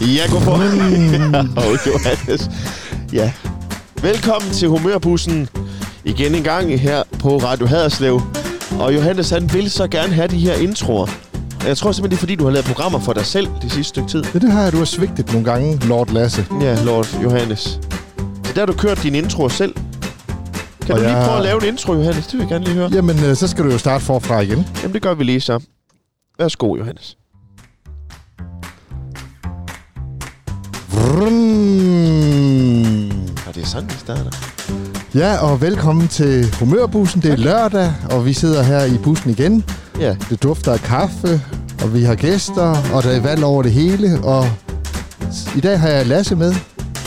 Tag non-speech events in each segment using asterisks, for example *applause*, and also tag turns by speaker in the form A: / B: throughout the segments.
A: Ja, godmorgen.
B: Mm.
A: *laughs* og Johannes. Ja. Velkommen til Humørbussen. Igen en gang her på Radio Haderslev. Og Johannes, han vil så gerne have de her introer. Jeg tror simpelthen, det er fordi, du har lavet programmer for dig selv det sidste stykke tid.
B: Ja, det har jeg, du har svigtet nogle gange, Lord Lasse.
A: Ja, Lord Johannes. Så der har du kørt dine introer selv. Kan
B: Og
A: du lige
B: jeg-
A: prøve at lave en intro, Johannes? Det vil jeg gerne lige høre.
B: Jamen, øh, så skal du jo starte forfra igen.
A: Jamen, det gør vi lige så. Værsgo, Johannes.
B: Vrrrn.
A: Og det er sådan, vi starter.
B: Ja, og velkommen til Humørbussen. Det er lørdag, og vi sidder her i bussen igen.
A: Ja,
B: Det dufter af kaffe, og vi har gæster, og der er valg over det hele. Og s- i dag har jeg Lasse med.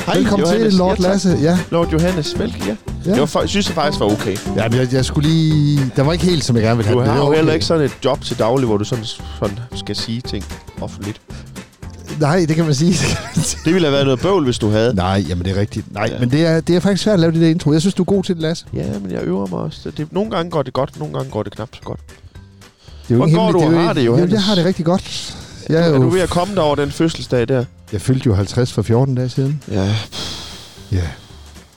A: Hej,
B: Velkommen
A: Johannes.
B: til, Lord
A: ja, tak.
B: Lasse. Ja,
A: Lord Johannes, velkommen. Ja.
B: Ja.
A: ja. Jeg var, fa- synes jeg faktisk var okay.
B: Jamen, jeg, jeg skulle lige... Der var ikke helt, som jeg gerne ville have
A: Du
B: den, men
A: har
B: det
A: jo
B: var
A: heller
B: okay.
A: ikke sådan et job til daglig, hvor du sådan, sådan skal sige ting offentligt.
B: Nej, det kan man sige.
A: Det ville have været noget bøvl, hvis du havde.
B: Nej, jamen det er rigtigt. Nej,
A: Ja.
B: ja. men det er, det er faktisk svært at lave det der intro. Jeg synes, du er god til det, Lasse.
A: Ja, men jeg øver mig også. Det, det, nogle gange går det godt, nogle gange går det knap så godt.
B: Det er jo
A: Hvor
B: ikke
A: går
B: hemmeligt,
A: du
B: er
A: og
B: jo
A: har
B: ikke-
A: det, Johannes?
B: Jamen, jeg har det rigtig godt. Jeg,
A: Er
B: er
A: du ved
B: jo,
A: at komme dig over den fødselsdag der?
B: jeg fyldte jo 50 for 14 dage siden.
A: Ja,
B: Ja,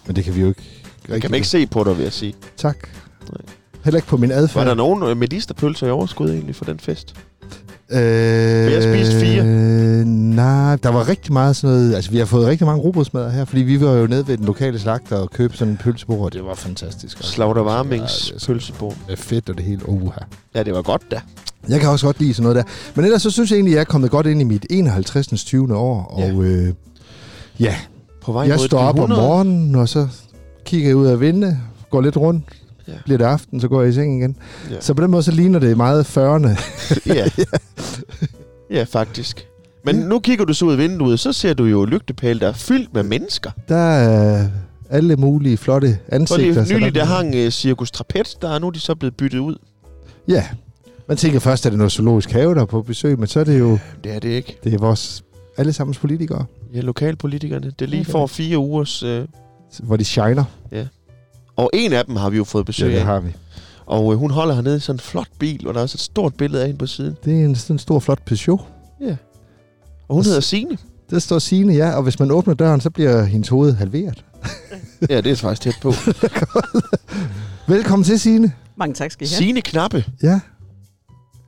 B: men det kan vi jo ikke
A: jeg
B: rigtig...
A: kan man ikke se på dig, vil jeg sige.
B: Tak.
A: Nej.
B: Heller ikke på min adfærd.
A: Var der nogen øh, medisterpølser i overskud egentlig for den fest?
B: Øh,
A: jeg spiste fire.
B: Øh, nej, der var rigtig meget sådan noget... Altså, vi har fået rigtig mange robotsmadder her, fordi vi var jo nede ved den lokale slagter og købte sådan en pølsebord, og det var fantastisk.
A: Slaughter
B: Ja, det er altså.
A: Varmings
B: så-
A: pølsebord.
B: Det er fedt og det hele. Uha.
A: Ja, det var godt da.
B: Jeg kan også godt lide sådan noget der. Men ellers så synes jeg egentlig, at jeg er kommet godt ind i mit 51. 20. år. Og
A: Ja.
B: øh, ja,
A: På vej
B: jeg
A: mod
B: står
A: de
B: op om
A: 100.
B: morgenen, og så kigger jeg ud af vinduet, går lidt rundt.
A: Ja.
B: Ja. Bliver det aften, så går jeg i seng igen.
A: Ja.
B: Ja. Så på den måde, så ligner det meget 40'erne. *laughs*
A: Ja. ja, faktisk. Men nu kigger du så ud af vinduet, så ser du jo lygtepæle, der er fyldt med mennesker.
B: Der er alle mulige flotte
A: For
B: ansigter.
A: lige
B: så
A: nylig, der hang uh, Cirkus Trapet, der er nu de så blevet byttet ud.
B: Ja. Man tænker først, at det er noget zoologisk have, der er på besøg, men så er det jo
A: Det er det ikke.
B: det er vores allesammens politikere,
A: Ja, lokalpolitikerne, det lige
B: Okay.
A: får fire ugers... Uh,
B: hvor de shiner.
A: og en af dem har vi jo fået besøg
B: Ja,
A: ja,
B: det
A: af.
B: har vi.
A: Og øh, hun holder hernede i sådan en flot bil, og der er også et stort billede af hende på siden.
B: Det er en, sådan en stor, flot Peugeot.
A: Og hun
B: Og s-
A: hedder Signe.
B: Der står Signe, ja, og hvis man åbner døren, så bliver hendes hoved halveret.
A: *laughs* Ja, det er faktisk tæt *laughs* på.
B: Velkommen til, Signe.
C: Mange tak skal I have.
A: Signe Knappe,
B: Ja.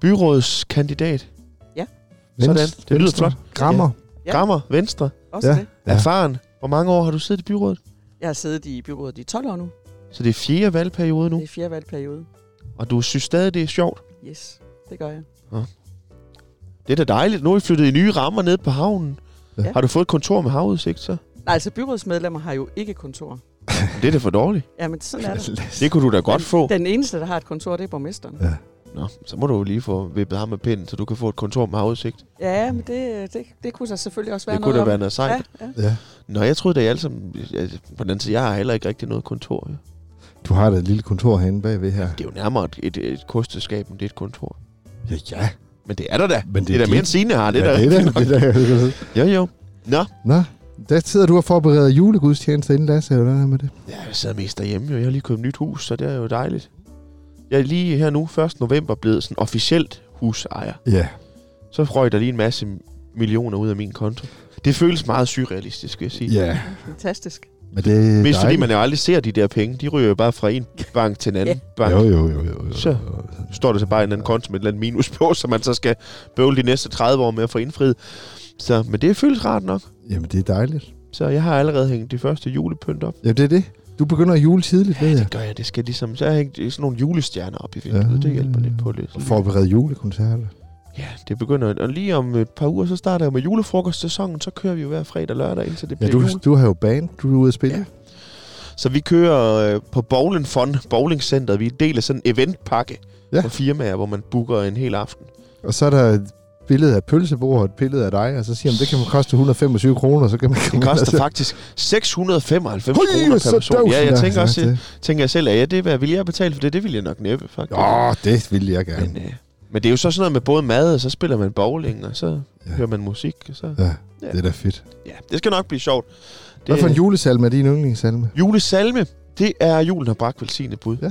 A: byrådskandidat. Sådan. Det lyder flot.
B: Grammer.
C: Ja.
A: Grammer, Venstre,
C: Også
B: Ja.
C: ja. det.
B: Ja.
A: ja. erfaren. Hvor mange år har du siddet i byrådet?
C: Jeg har siddet i byrådet i 12 år nu.
A: Så det er fjerde valgperiode nu,
C: Det er fjerde valgperiode.
A: og du synes stadig, det er sjovt.
C: Yes, det gør jeg.
A: Det er da dejligt. Nu er I flyttet i nye rammer ned på havnen. Ja.
B: Ja.
A: Har du fået et kontor med havudsigt, så?
C: Nej, altså byrådsmedlemmer har jo ikke kontor.
A: Men det er da for dårligt.
C: Jamen, sådan er det.
A: Det kunne du da *laughs* godt få.
C: Den eneste, der har et kontor, det er borgmesteren.
A: Nå, så må du jo lige få vippet ham med pinden, så du kan få et kontor med havudsigt.
C: Ja, men det, det, det kunne der selvfølgelig også være
A: Det
C: noget
A: kunne da
C: om.
A: være noget sejt. Ja.
C: Ja, ja.
B: Ja.
A: Nå, jeg troede, da jeg alle sammen... altså, På den anden side, jeg har heller ikke rigtig noget kontor. Jo.
B: Du har da et lille kontor herinde bagved her.
A: Det er jo nærmere et, et, et kosteskab, end det er et kontor.
B: Ja, ja.
A: Men det er der da.
B: Men
A: Det er da mere end Signe har. Det er
B: ja,
A: da
B: det, er
A: rigtigt
B: der,
A: nok.
B: det, er der.
A: *laughs* Jo, jo. Nå,
B: Nå, der sidder du og forbereder julegudstjenester inden, Lasse, eller hvad er med det?
A: ja, jeg sidder mest derhjemme. Jo. Jeg har lige købt nyt hus, så det er jo dejligt. Jeg er lige her nu, 1. november, blevet sådan officielt husejer.
B: Ja.
A: Så røg der lige en masse millioner ud af min konto. Det føles meget surrealistisk, vil jeg sige.
B: Ja.
C: fantastisk.
B: Men det er
A: Mest fordi
B: dejligt.
A: man jo aldrig ser de der penge. De ryger jo bare fra en bank til en anden ja. bank.
B: Jo, jo, jo, jo. jo.
A: Så. står der så bare en eller anden konto med et eller andet minus på, *laughs* så man så skal bøvle de næste 30 år med at få indfriet. Så, men det føles rart nok.
B: Jamen, det er dejligt.
A: Så jeg har allerede hængt de første julepynt op.
B: Jamen, det er det. Du begynder at jule tidligt, ved jeg.
A: Det gør jeg, det skal ligesom... Så har jeg hængt sådan nogle julestjerner op i vinduet. Ja,
B: Ja.
A: det hjælper lidt på det.
B: Og forberede julekoncerter.
A: Ja, det begynder... Og lige om et par uger, så starter jeg med julefrokostsæsonen. Så kører vi jo hver fredag og lørdag, indtil det
B: Ja,
A: bliver
B: du,
A: jul.
B: du har jo band. Du er ude at spille.
A: Ja. Så vi kører øh, på Bowling Fun, bowlingcenteret. Vi deler sådan en eventpakke ja.
B: Ja.
A: for firmaer, hvor man booker en hel aften.
B: Og så er der et billede af et pølsebord og et billede af dig, og så siger man, det kan man koste 125 kroner, så kan man
A: Det koster faktisk 695 kroner per person. Ja, jeg tænker også, tænker jeg selv, at ja, det er, hvad jeg vil jeg betale for det? Det vil jeg nok næppe, faktisk.
B: Åh, det ville jeg gerne.
A: Men, øh, men det er jo så sådan noget med både mad, og så spiller man bowling, og så ja.
B: Ja.
A: hører man musik. Og så,
B: Ja,
A: øh, Ja.
B: det er da fedt.
A: ja, det skal nok blive sjovt. Det,
B: Hvad for en julesalme er din yndlingssalme?
A: Julesalme, det er julen har bragt velsignet bud.
B: Ja.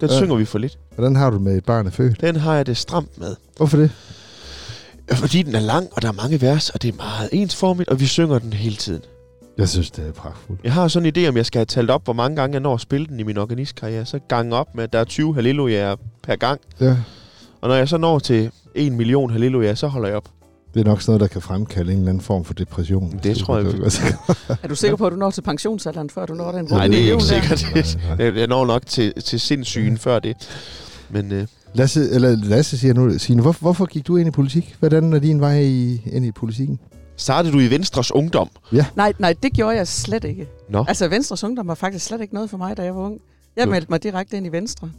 A: Den
B: Ja.
A: synger vi for lidt.
B: Hvordan har du det med et barn er født?
A: Den har jeg det stramt med.
B: Hvorfor det?
A: Fordi den er lang, og der er mange vers, og det er meget ensformigt, og vi synger den hele tiden.
B: Jeg synes, det er pragtfuldt.
A: Jeg har sådan en idé, om jeg skal have talt op, hvor mange gange jeg når at spille den i min organistkarriere. Så gange op med, at der er 20 hallelujaer per gang.
B: Ja.
A: Og når jeg så når til 1 million hallelujaer, så holder jeg op.
B: Det er nok sådan noget, der kan fremkalde en eller anden form for depression.
A: Det
B: hvis du
A: tror jeg,
B: kan-
A: vi-
C: Er du sikker på, at du når til pensionsalderen, før du når den? *laughs*
A: Nej, det er ikke sikkert.
B: Nej, nej.
A: Jeg jeg når nok til, til
C: Mm.
A: sindssygen før det. Men øh,
B: Lasse, eller Lasse siger nu, Signe, hvor, hvorfor gik du ind i politik? Hvordan er din vej i, ind i politikken?
A: startede du i Venstres Ungdom?
C: Nej, nej, det gjorde jeg slet ikke.
A: Nå.
C: Altså, Venstres Ungdom var faktisk slet ikke noget for mig, da jeg var ung. Jeg
A: Nå.
C: meldte mig direkte ind i Venstre.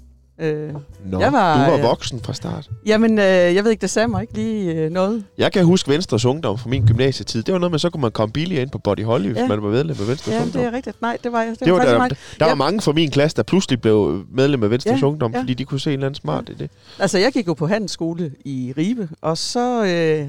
C: Øh,
A: Nå,
C: Jeg var-
A: du var
C: ja.
A: voksen fra start.
C: jamen, øh, jeg ved ikke, det sagde mig ikke lige øh, noget.
A: Jeg kan huske Venstres Ungdom fra min gymnasietid. Det var noget med, så kunne man komme billigere ind på Body Holly, hvis
C: Ja.
A: man var medlem af Venstres
C: Jamen,
A: Ungdom.
C: det er rigtigt. Nej, det var jeg.
A: Det var
C: faktisk
A: der,
C: mig.
A: der var
C: Ja.
A: mange fra min klasse, der pludselig blev medlem af Venstres
C: Ja,
A: Ungdom,
C: ja.
A: fordi de kunne se en eller anden smart i det.
C: Altså, jeg gik jo på handelsskole i Ribe, og så øh,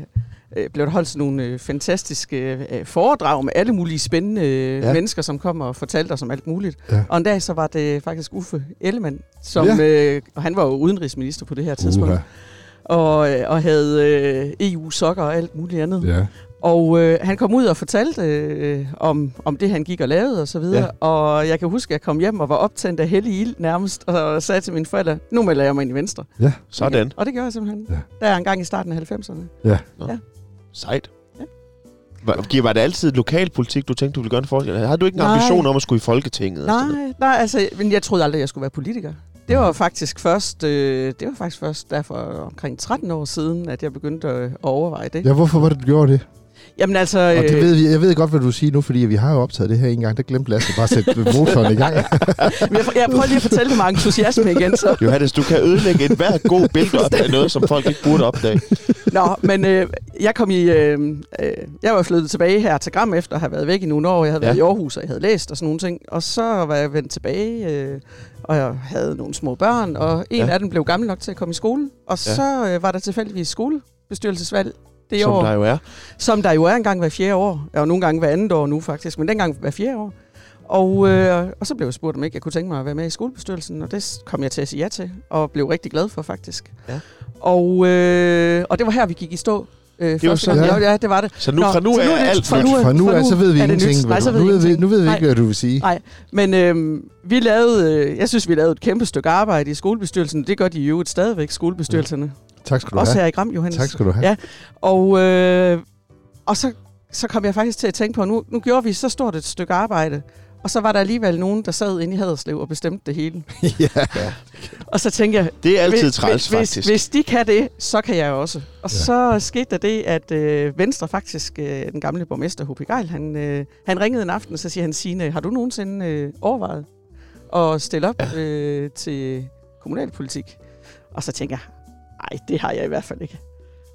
C: øh, blev der holdt sådan nogle øh, fantastiske øh, foredrag med alle mulige spændende øh,
A: Ja.
C: ja. mennesker, som kom og fortalte os om alt muligt.
B: Ja.
C: Ja. Og en dag så var det faktisk Uffe Ellemann, som,
B: Ja.
C: ja. øh, og han var jo udenrigsminister på det her tidspunkt,
B: Uha,
C: og, øh, og havde øh, EU-sokker og alt muligt andet.
B: Ja.
C: Og øh, han kom ud og fortalte øh, om, om det, han gik og lavede og så videre. Ja. Og jeg kan huske, at jeg kom hjem og var optændt af hellig ild nærmest, og sagde til mine forældre, nu melder jeg mig ind i Venstre.
B: Ja.
A: Sådan.
C: Og det gjorde jeg simpelthen.
B: Ja.
C: Ja. Der er en gang i starten af 90'erne.
A: Sejt.
C: Ja.
A: Var, var det altid lokalpolitik, du tænkte, du ville gøre en forskel? Havde du ikke en
C: Nej.
A: ambition om at skulle i Folketinget? og sådan noget?
C: Nej, nej, altså, men jeg troede aldrig, at jeg skulle være politiker. Det
B: Mm.
C: var faktisk først, øh, det var faktisk først derfor omkring 13 år siden, at jeg begyndte at overveje det.
B: ja, hvorfor var det, du gjorde det?
C: Jamen altså,
B: Og det
C: øh,
B: ved, vi- jeg ved godt, hvad du siger nu, fordi vi har jo optaget det her en gang. Der glemte Lasse bare
C: *laughs*
B: at sætte motoren i gang.
C: men jeg, jeg prøver lige at fortælle det med entusiasme igen. Så.
A: Johannes, du kan ødelægge et hver
C: *laughs*
A: god billede op af noget, som folk ikke burde opdage.
C: Nå, men øh, jeg kom i, øh, øh, jeg var flyttet tilbage her til Gram efter at have været væk i nogle år. Jeg havde
A: Ja.
C: ja. været i Aarhus, og jeg havde læst og sådan nogle ting. Og så var jeg vendt tilbage, øh, og jeg havde nogle små børn, og en
A: Ja.
C: ja. af dem blev gammel nok til at komme i skole. Og
A: Ja.
C: ja. så øh, var der tilfældigvis skolebestyrelsesvalg det
A: Som
C: år,
A: der jo er.
C: som der jo er engang hver fjerde år, og nogle gange hver andet år nu faktisk, men dengang hver fjerde år. Og, øh, og så blev jeg spurgt, om ikke jeg kunne tænke mig at være med i skolebestyrelsen, og det s- kom jeg til at sige ja til, og blev rigtig glad for faktisk.
A: Ja.
C: Og, øh, og det var her, vi gik i stå. Øh, det
A: var sådan,
C: ja. ja, det var det.
A: Så nu, Nå, fra nu
C: så
A: er
C: det-
A: alt
C: fra
A: nyt.
C: nu er-
B: For nu,
C: fra
B: er, så ved vi
C: er det
B: ingenting.
C: nyt.
B: hvad
C: Nej, så
B: du-
C: ved
B: nu,
C: vi
B: ved vi,
C: ingenting.
B: nu ved vi
C: Nej.
B: ikke, hvad du vil sige.
C: Nej. Men øh, vi lavede, øh, jeg synes, vi lavede et kæmpe stykke arbejde i skolebestyrelsen. Det gør de jo stadigvæk, skolebestyrelserne.
B: Tak skal du
C: Også
B: have.
C: her i Gram, Johannes.
B: Tak skal du have.
C: Ja. Og, øh, og så, så kom jeg faktisk til at tænke på, nu, nu gjorde vi så stort et stykke arbejde, og så var der alligevel nogen, der sad inde i Haderslev og bestemte det hele.
B: ja.
C: Og så tænkte jeg,
A: Det er altid
C: hvis-
A: træls,
C: hvis,
A: faktisk.
C: Hvis de kan det, så kan jeg også. Og
B: Ja.
C: ja. så skete der det, at øh, Venstre faktisk, øh, den gamle borgmester H.P. Geil, han, øh, han ringede en aften, og så siger han, Signe, har du nogensinde øh, overvejet at stille op øh, til kommunalpolitik? Og så tænker jeg, nej, det har jeg i hvert fald ikke.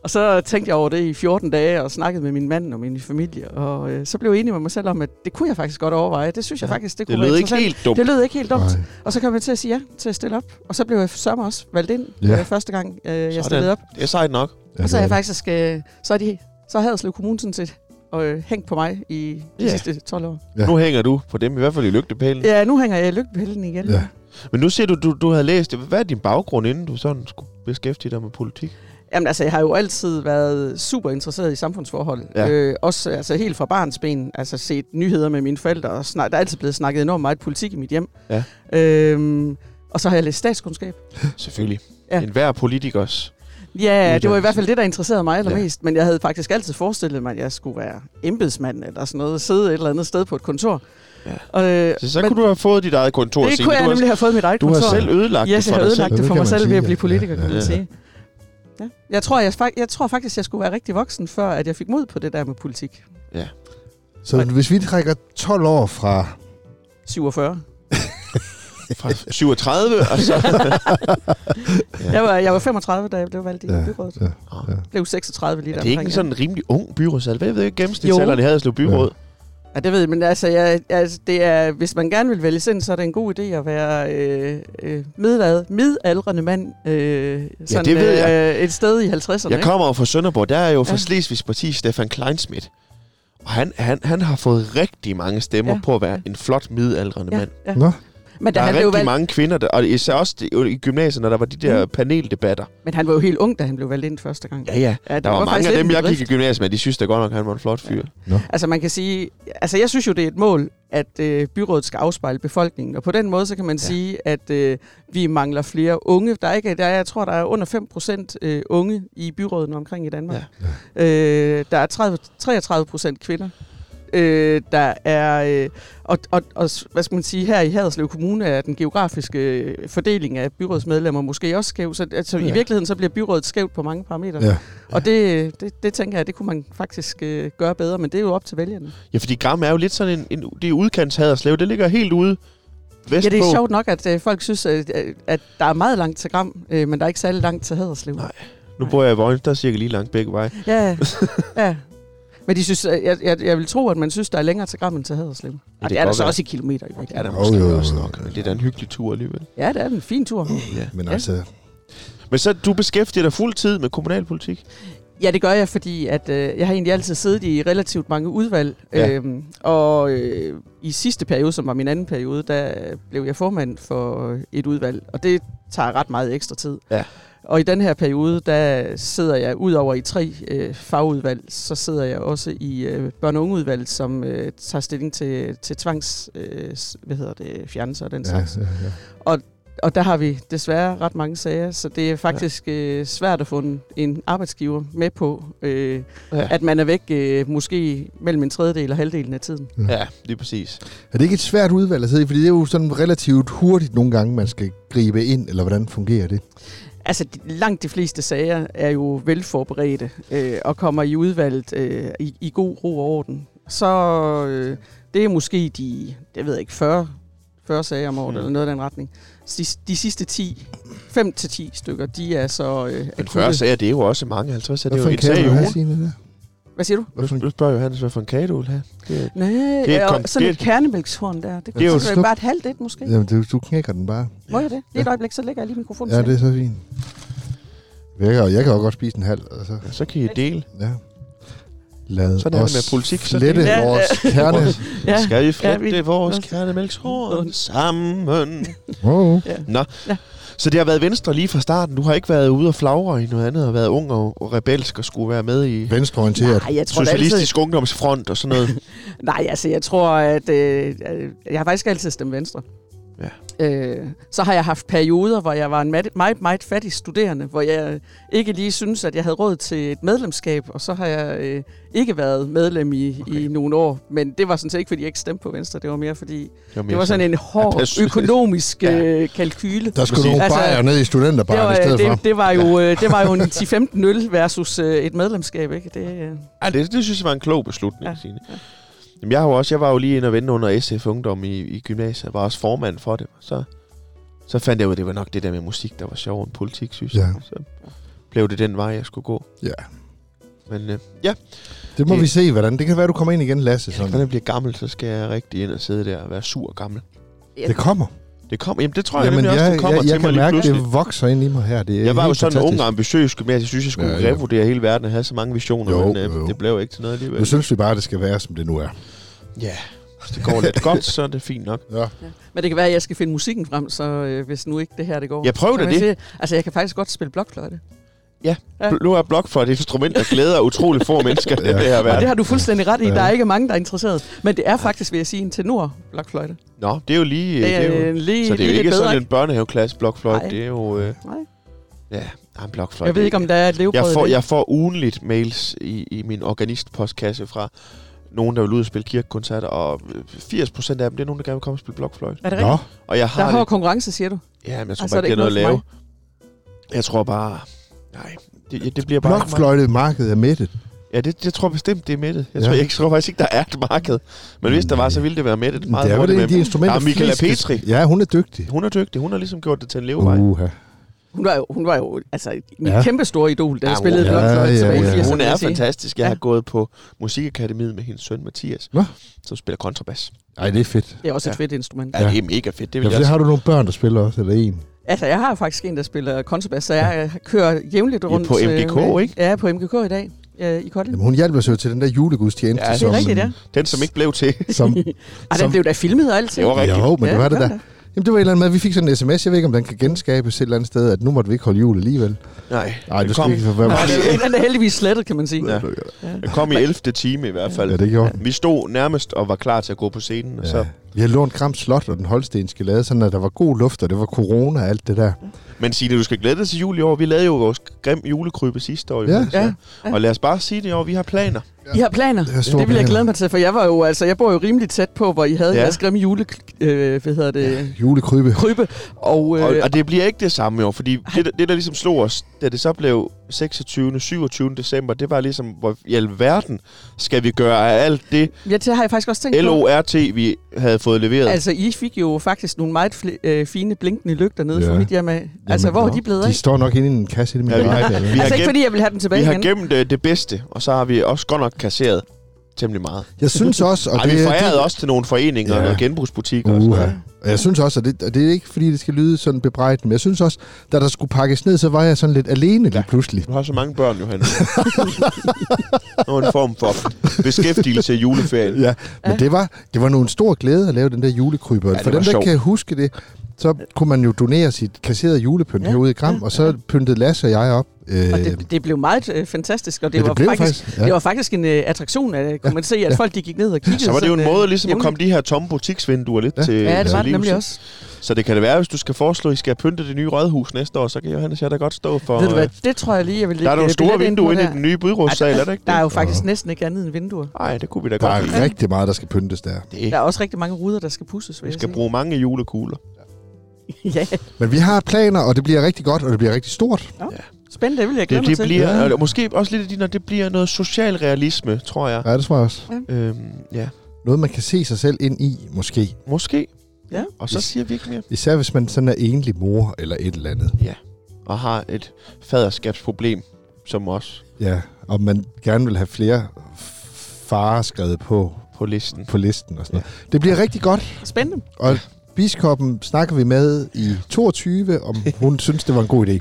C: Og så tænkte jeg over det i 14 dage og snakkede med min mand og min familie, og øh, så blev jeg enig med mig selv om, at det kunne jeg faktisk godt overveje. Det synes jeg
A: Ja,
C: faktisk, det kunne
A: Det
C: være
A: lød ikke
C: interessant.
A: helt dumt.
C: Det lød ikke helt dumt.
B: Nej.
C: Og så kom jeg til at sige ja til at stille op. Og så blev jeg sørme også valgt ind
B: Ja.
C: ja. øh, første gang, øh,
A: Sådan.
C: jeg stillede op.
A: Det er sejt nok.
B: Ja,
C: Og så
B: det
C: er
B: er
C: jeg faktisk, øh, så er de, så har Haderslev Kommune sådan set og, øh, hængt på mig i de
A: Ja.
C: sidste 12 år.
B: Ja.
A: Nu hænger du på dem, i hvert fald i lygtepælen.
C: Ja, nu hænger jeg i lygtepælden igen.
B: Ja.
A: Men nu siger du, du, du havde læst det. Hvad er din baggrund, inden du sådan skulle beskæftige dig med politik?
C: Jamen altså, jeg har jo altid været super interesseret i samfundsforhold.
A: Ja.
C: Ja. Øh, også altså, helt fra barnsben. Altså set nyheder med mine forældre. Og snak, der er altid blevet snakket enormt meget politik i mit hjem.
A: Ja.
C: Øhm, og så har jeg læst statskundskab.
A: Selvfølgelig. Ja.
C: Ja.
A: En hver politikers
C: Ja, det var i
A: Uddannelse.
C: hvert fald det, der interesserede mig
A: Ja.
C: allermest. Ja. Men jeg havde faktisk altid forestillet mig, at jeg skulle være embedsmand eller sådan noget. Sidde et eller andet sted på et kontor.
A: Ja.
C: Og, øh,
A: Så, så
C: men
A: kunne du have fået dit eget kontor.
C: det
A: Signe.
C: kunne
A: du
C: jeg
A: har,
C: nemlig have fået mit eget
A: du
C: kontor.
A: har selv ødelagt
C: Yes,
A: det
C: jeg
A: for
C: har
A: dig selv.
C: ødelagt det
B: Det
C: for
B: kan man
C: mig selv
B: sige,
C: ved at
B: ja.
C: blive politiker,
B: Ja,
C: kan man
A: ja.
C: sige. Ja. Jeg, tror, jeg, fak- jeg tror faktisk, jeg skulle være rigtig voksen, før at jeg fik mod på det der med politik.
B: Så hvis vi trækker 12 år fra
C: 47.
A: Fra 37, og så... Ja.
C: Jeg var, jeg var 35, da jeg blev valgt i
B: Ja.
C: ja. byrådet.
B: Ja.
C: Blev 36 lige
A: Er
C: der.
A: det ikke en sådan rimelig ung byrådsal? Hvad ved jeg gennemsnitsalderen
C: Jo.
A: i Haderslev Byråd?
C: Ja, det ved jeg, men altså, jeg, altså det er, hvis man gerne vil vælge sind, så er det en god idé at være øh, øh, middelad, midaldrende mand øh, sådan,
A: det ved
C: Øh, et sted i 50'erne.
A: Jeg kommer jo fra Sønderborg. Der er jo fra
C: Ja.
A: Slesvigs parti Stefan Kleinschmidt. Og han, han, han har fået rigtig mange stemmer
C: Ja.
A: på at være en flot midaldrende
C: ikke?
A: mand.
C: Ja, ja.
B: Nå,
C: Men, da
A: Der er
C: han blev
A: rigtig
C: valgt, Mm.
A: mange kvinder, der, og især også det- i gymnasiet, når der var de der paneldebatter.
C: men han var jo helt ung, da han blev valgt ind første gang.
A: Ja, ja.
C: Ja, det
A: Der var, var mange
C: faktisk
A: af
C: lidt
A: dem,
C: en
A: jeg gik i
C: bedrift.
A: gymnasiet med, de synes da godt nok, han var en flot fyr.
C: Altså man kan sige, altså jeg synes jo, det er et mål, at øh, byrådet skal afspejle befolkningen. Og på den måde, så kan man ja. sige, at øh, vi mangler flere unge. Der er ikke, der, er- jeg tror, der er under 5 procent øh, unge i byrådet omkring i Danmark. Ja. Øh, der er 30, 33 procent kvinder. Øh, der er, øh, og, og, og s- hvad skal man sige, her i Haderslev Kommune er den geografiske øh, fordeling af byrådsmedlemmer måske også skæv, så altså, ja. i
A: Ja.
C: virkeligheden så bliver byrådet skævt på mange parametre.
B: Ja.
C: Og det, det, det tænker jeg, det kunne man faktisk øh, gøre bedre, men det er jo op til vælgerne.
A: Ja, fordi Gram er jo lidt sådan en, en det er udkantshaderslev. Det ligger helt ude vestpå.
C: Ja, det er sjovt nok, at øh, folk synes, at, at- at der er meget langt til Gram, øh, men der er ikke særlig langt til Haderslev.
A: Nej. Nu bor jeg i Vojens, der er cirka lige langt begge veje. *laughs*
C: Ja, ja. Men de synes, øh, jeg, jeg, jeg vil tro, at man synes, der er længere til Gram end til Haderslev. Ja,
A: kan
C: det, er der
A: godt
C: så
A: være.
C: også i kilometer. I
A: Ja, der
C: virkeligheden.
B: Jo,
A: måske
B: jo, jo,
A: også
B: jo.
A: nok. Men det er da en hyggelig tur alligevel.
C: ja, det er en fin tur.
A: Ja.
B: Men
C: Ja.
B: altså,
A: Men så du beskæftiger dig fuld tid med kommunalpolitik.
C: Ja, det gør jeg, fordi at, øh, jeg har egentlig altid siddet i relativt mange udvalg.
A: Ja.
C: Ja. Øhm, og øh, i sidste periode, som var min anden periode, der blev jeg formand for et udvalg. Og det tager ret meget ekstra tid.
A: Ja.
C: Og i den her periode, der sidder jeg udover i tre øh, fagudvalg, så sidder jeg også i øh, børne- og ungeudvalg, som øh, tager stilling til, til tvangs, øh, s- hvad hedder det, fjernelser og den
B: ja,
C: slags.
B: ja, ja.
C: Og der har vi desværre ret mange sager, så det er faktisk ja. øh, svært at få en, en arbejdsgiver med på, øh,
A: Ja.
C: ja. at man er væk øh, måske mellem en tredjedel og halvdelen af tiden.
A: Ja, lige præcis.
B: Er det ikke et svært udvalg at sidde i? Fordi det er jo sådan relativt hurtigt nogle gange, man skal gribe ind, eller hvordan fungerer det?
C: Altså de- langt de fleste sager er jo velforberedte øh, og kommer i udvalget øh, i, i god ro og orden. Så øh, det er måske de, det ved jeg ikke, 40, 40 sager om året
A: Mm.
C: mm. eller noget i den retning. De, de sidste 10, 5-10 stykker, de er så øh,
A: Men
C: akutte.
A: 40 sager, det er jo også mange. 50 sager, det er jo
B: en
A: en sag i
B: du have,
A: ugen.
B: Signe? Der?
C: Hvad siger du?
B: Hvad for en-
A: Nu spørger Johannes, hvad for en kage du vil have. Det er,
C: Nej, det
A: et
C: er
A: kom-
C: og sådan
A: det er
C: et kernemælkshorn der. Det,
A: Det er jo
C: kunne
A: et
C: det
B: snup.
C: bare et halvt et måske. Ja.
B: Jamen, du, du knækker den bare.
C: Må jeg det? Lige et
B: Ja.
C: øjeblik, så lægger jeg lige mikrofonen
B: Ja,
C: til.
B: det er så fint. Jeg kan, jeg kan jo godt spise en halv. Altså.
A: så kan I dele.
B: Ja. Lad
A: Sådan er det
B: os
A: med politik, så
B: flette
C: det- Ja,
B: vores
A: *laughs*
B: kerne.
A: Ja. Skal vi
C: Ja,
A: flette
C: vi-
A: ja, vores
C: Nå.
A: kernemælkshorn sammen?
B: Oh.
A: Nå, ja.
C: Ja.
A: så det har været Venstre lige fra starten. Du har ikke været ude og flagre i noget andet, og været ung og, og rebelsk og skulle være med i
B: Venstreorienteret.
C: Nej, jeg tror da altid...
A: Socialistisk Ungdomsfront og sådan noget.
C: Nej, altså jeg tror, at øh, øh, jeg har faktisk altid stemt venstre.
A: Ja.
C: Øh, så har jeg haft perioder, hvor jeg var en mat- meget, meget fattig studerende, hvor jeg ikke lige synes, at jeg havde råd til et medlemskab, og så har jeg øh, ikke været medlem i, okay. i nogle år. Men det var sådan set ikke, fordi jeg ikke stemte på Venstre, det var mere fordi, *laughs* det var sådan en hård
A: personligt.
C: økonomisk
A: Ja.
C: øh, kalkyle.
B: Der skulle
A: Præcis.
B: nogle
C: Altså,
B: bajer ned i
C: det
B: studenterbaren
C: var,
B: i stedet for.
C: det, det, var jo, øh, det var jo en 10-15 øl versus øh, et medlemskab, ikke? Det, øh,
A: Ej, det, det synes jeg var en klog beslutning, ja.
C: Ja,
A: Signe. Jamen, jeg, har jo også, jeg var jo lige inde og vende under SF Ungdom i, i gymnasiet, og var også formand for det. Så, så fandt jeg ud af, at det var nok det der med musik, der var sjovere end politik, synes jeg.
B: Ja.
A: Så blev det den vej, jeg skulle gå.
B: Ja.
A: Men øh, ja,
B: Det må
A: Det-
B: vi se, hvordan. Det kan være, du kommer ind igen, Lasse.
A: når
B: Sådan.
A: jeg bliver gammel, så skal jeg rigtig ind og sidde der og være sur og gammel.
B: Det kommer.
A: Det kommer, jamen det tror jeg
B: Jamen,
A: jamen, nemlig
B: jeg,
A: også, det
B: jeg,
A: kommer til mig
B: jeg kan
A: lige
B: mærke,
A: pludselig.
B: det vokser ind i mig her. Det er
A: Jeg var jo
B: helt
A: sådan
B: fantastisk.
A: ung og ambitiøs gymnasiet. Jeg synes, jeg skulle
B: Ja,
A: ja,
B: ja.
A: revurdere hele verden og have så mange visioner,
B: Jo,
A: men øh,
B: jo.
A: det blev ikke til noget
B: Nu
A: alligevel.
B: synes vi bare, det skal være, som det nu er.
A: Ja, hvis det går lidt godt, så er det fint nok.
B: Ja.
C: Men det kan være, at jeg skal finde musikken frem, så øh, hvis nu ikke det her, det går.
A: Jeg prøver
C: Så
A: da
C: man
A: det.
C: siger, altså, jeg kan faktisk godt spille blokfløjte. Ja.
A: Nu er blok for et instrument, der glæder utrolig få mennesker i
B: Ja.
A: det her
C: Og det
A: verden.
C: har du fuldstændig ret i.
B: Ja.
C: Der er ikke mange, der er interesseret. Men det er faktisk, vil jeg sige, en tenor blokfløjte.
A: Nå, det er jo lige...
C: Det er,
A: det er jo,
C: en lige,
A: så det er jo
C: lige
A: ikke
C: bedre.
A: sådan en børnehaveklasse blokfløjt.
C: Nej.
A: Det er jo... Øh,
C: Nej.
A: ja, der er en blokfløjt.
C: Jeg ved ikke, om der er et levebrød.
A: jeg
C: i
A: får,
C: det.
A: jeg får ugenligt mails i, i min organistpostkasse fra nogen, der vil ud og spille kirkekoncerter, og 80% af dem, det er nogen, der gerne vil komme og spille blokfløjt.
C: Er det
B: Nå,
C: rigtigt?
A: Og jeg
C: Der
A: har
C: er
A: det-
C: hård konkurrence, siger du.
A: Ja, men jeg tror
C: Altså,
A: bare
C: er det
A: ikke, det er noget at
C: ikke
A: lave.
C: noget
A: Jeg tror bare... Nej, det, det bliver bare... ikke mig.
B: blokfløjtemarkedet er mættet.
A: Ja, det, jeg tror bestemt, det er mættet. Jeg,
B: Ja.
A: ja. tror, jeg tror faktisk ikke, der er et marked. Men hvis der var, så ville det være mættet meget
B: det er vel
A: hurtigt.
B: en af de
A: men
B: instrumenter,
A: Der er Michaela
B: flest-
A: Petri.
B: Ja, hun er dygtig.
A: Hun er dygtig. Hun har ligesom gjort det til en levevej. Uh,
B: Uha.
C: Hun var jo, hun var jo altså, min
B: Ja.
C: ja. kæmpe store idol, der
A: Ja,
C: ja,
A: hun-
C: spillede
A: ja,
C: blokfløjte
B: ja,
C: tilbage i
B: ja.
C: 80'erne,
A: hun
C: vil
A: er
C: jeg sige.
A: fantastisk. Jeg ja. har
C: Ja.
A: gået på Musikakademiet med hendes søn Mathias,
B: Nå.
A: som spiller kontrabas.
B: Ej, det er fedt.
C: Det er også et
A: Ja.
C: fedt instrument.
A: Ja.
B: Ja.
A: det er mega fedt. Det
B: Ja,
A: vil jeg
B: for det
A: også. Mm.
B: har du nogle børn, der spiller også, eller en.
C: Altså, jeg har faktisk en, der spiller kontrabas, så jeg øh, kører jævnligt rundt.
A: på
C: øh,
A: MGK,
C: med-
A: ikke?
C: Ja, på MGK i dag, øh, i Kolding.
B: Jamen, hun hjalp os jo til den der julegudstjeneste.
A: Ja, det er
C: Det
B: som,
C: er rigtigt, ja.
B: *laughs*
A: *laughs* Den, som ikke blev til.
B: Som,
C: Ej,
B: som-
C: den blev da filmet og alt.
A: Det var rigtigt.
B: jo, men det var det
C: gør
B: der. Jamen, det var et eller andet med, at vi fik sådan en sms. Jeg ved ikke, om den kan genskabes et eller andet sted, at nu måtte vi ikke holde jul alligevel.
A: Nej,
B: Nej,
A: den
B: du
A: kom,
B: skal ikke forværme.
A: Nej, det-
C: Den er heldigvis slettet, kan man sige.
A: Ja. den kom i 11. time i hvert fald.
B: Ja, det gjorde den.
A: Vi stod nærmest og var klar til at gå på scenen, og så...
B: Ja. Vi havde lånt Gram Slot og den holstenske lade, sådan at der var god luft, og det var corona og alt det der.
A: Men Signe, du skal glæde dig til jul i år. Vi lavede jo vores grim julekrybe sidste år. jo.
B: Ja.
C: Ja.
A: Og lad os bare sige det i år, vi har planer.
C: I har planer.
B: Det er store
C: Det vil jeg
B: planer.
C: glæde mig til, for jeg var jo, altså, jeg bor jo rimelig tæt på, hvor I havde
A: Ja.
C: ja. jeres grimme jule, øh, hvad hedder det,
B: Julekrybe.
C: krybe. Og, øh,
A: Og, og det bliver ikke det samme i år, fordi det, der- det, der ligesom slog os, da det så blev 26. 27. december, det var ligesom, hvor i alverden skal vi gøre af alt det
C: jeg til, har jeg faktisk også tænkt på,
A: LORT, vi havde fået leveret.
C: altså I fik jo faktisk nogle meget fl- øh, fine blinkende lygter nede
B: Ja.
C: ja. fra mit hjemme af. Altså,
B: Jamen,
C: hvor er
B: nå.
C: de blevet af?
B: De står nok inde i en kasse i det
A: Ja,
B: med
A: vi-
B: ja,
A: vi har
C: Altså ikke
A: gemt-
C: fordi jeg vil have dem tilbage
A: Vi har
C: igen.
A: gemt øh, det bedste, og så har vi også godt nok kasseret temmelig meget.
B: Jeg synes også... Og
A: Og Ej, vi
B: det,
A: forærede det... også til nogle foreninger
B: Ja.
A: ja. og genbrugsbutikker. og sådan
B: Uha.
A: noget.
B: Og jeg synes også, og det, og det er ikke fordi, det skal lyde sådan bebrejdende, men jeg synes også, da der skulle pakkes ned, så var jeg sådan lidt alene lige pludselig.
A: Du har så mange børn, *laughs* Johan. Nå, en form for beskæftigelse i juleferien.
B: Ja, men det var, det var nu en stor glæde at lave den der julekryber. Ja,
A: det
B: For
A: var
B: dem, der
A: sjovt.
B: kan huske det, så kunne man jo donere sit kasserede julepynt ja,
C: Ja,
B: herude i Gram, ja,
C: ja,
B: og så pyntede Lasse og jeg op. Øh,
C: Og det, det blev meget øh, fantastisk, og det,
B: Ja, det
C: var
B: blev
C: faktisk,
B: faktisk, ja.
C: det var faktisk en øh, attraktion, at kunne man se, at
B: Ja.
C: folk de gik ned og kiggede.
A: Så var det jo en
C: sådan, øh,
A: måde ligesom at
C: jævnligt.
A: komme de her tomme butiksvinduer lidt
B: Ja.
A: ja. til
C: Ja, det
A: til
C: var det
A: livs,
C: nemlig
A: ikke?
C: også.
A: Så det kan det være, hvis du skal foreslå, at I skal pynte det nye rådhus næste år, så kan Johannes jeg da godt stå for...
C: Ved du hvad,
A: øh,
C: det tror jeg lige, jeg vil
A: der er
C: lægge,
A: nogle
C: øh,
A: store
C: billetter ind
A: vinduer
C: på
A: inde i
C: der.
A: den nye byrådssal, er der ikke
C: Der er
A: det?
C: jo faktisk næsten ikke andet end vinduer.
A: Nej, det kunne vi da
B: der
A: godt.
B: er rigtig meget, der skal pyntes der.
A: Det.
C: Der er også rigtig mange ruder, der skal pusses, vil
A: Vi
C: jeg
A: skal
C: sige.
A: bruge mange julekugler.
C: *laughs* ja,
B: Men vi har planer, og det bliver rigtig godt, og det bliver rigtig stort.
C: spændende, det vil jeg glæde
A: Det,
C: mig
A: det
C: til.
A: bliver,
B: Ja.
A: og måske også lidt af din, det bliver noget social realisme, tror jeg.
B: Ja, det tror jeg også.
A: Øhm, ja,
B: Noget, man kan se sig selv ind i, måske.
A: måske.
C: Ja.
A: Og så siger vi ikke mere.
B: Især hvis man sådan er enlig mor eller et eller andet.
A: Og har et faderskabsproblem, som os
B: Ja, og man gerne vil have flere f- farer skrevet på,
A: på listen.
B: på listen og sådan noget. Det bliver rigtig godt.
C: Spændende.
B: Biskoppen snakker vi med i 22, om hun synes, det var en god idé.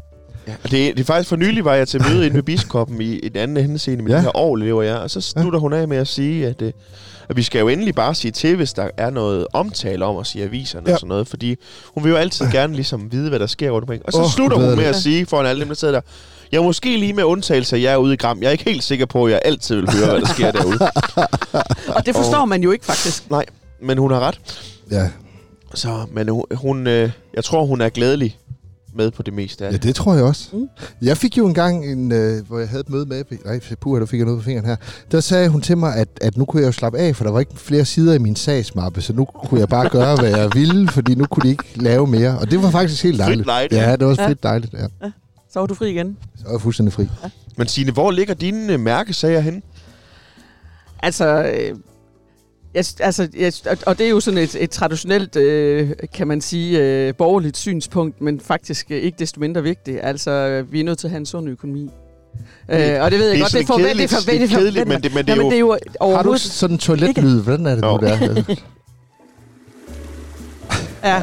A: Ja, og det, det er faktisk for nylig, var jeg til møde inde med biskoppen i et andet henseende med
B: Ja.
A: ja. de her år, lever jeg. Og så slutter ja. hun af med at sige, at, øh, at vi skal jo endelig bare sige til, hvis der er noget omtale om os i aviserne
B: Ja.
A: ja. og sådan noget. Fordi hun vil jo altid gerne ligesom vide, hvad der sker rundt omkring. Og så
B: Åh,
A: oh, slutter hun
B: glæder
A: med
B: det.
A: at sige foran alle dem, der sidder der, jeg er måske lige med undtagelse, af jer ude i Gram. Jeg er ikke helt sikker på, at jeg altid vil høre, hvad der sker
B: *laughs*
A: derude.
C: Og det forstår man jo ikke, faktisk.
A: Nej, men hun har ret.
B: Ja,
A: Så, men hun, hun øh, jeg tror, hun er glædelig med på det meste af
B: ja
A: det.
B: det tror jeg også.
C: Mm.
B: Jeg fik jo engang, en, øh, hvor jeg havde et møde med... Nej, puha, der fik jeg noget på fingeren her. Der sagde hun til mig, at, at nu kunne jeg jo slappe af, for der var ikke flere sider i min sagsmappe, så nu kunne jeg bare gøre, hvad jeg ville, fordi nu kunne de ikke lave mere. Og det var faktisk helt dejligt.
A: Frit lejde.
B: Ja, det var også
C: Ja.
B: frit dejligt. Ja.
C: Så var du fri igen.
B: Så var jeg fuldstændig fri.
A: Men Signe, hvor ligger dine øh, mærkesager hen?
C: Altså, øh, jeg, altså jeg, og- og det er jo sådan et, et traditionelt, øh, kan man sige, øh, borgerligt synspunkt, men faktisk øh, ikke desto mindre vigtigt. Altså, øh, vi er nødt til at have en sund økonomi. Øh, og det ved jeg
A: det er
C: godt,
A: sådan
C: det forventer
A: kedeligt-
C: det forventer-
A: det er kedeligt,
C: forventer-
A: men det- men det er
C: Jamen,
A: jo-
C: det er jo
B: Har du
C: overhovedet...
B: sådan en toiletlyd? Hvordan er det nu,
A: Nå.
B: der? er?
C: ja.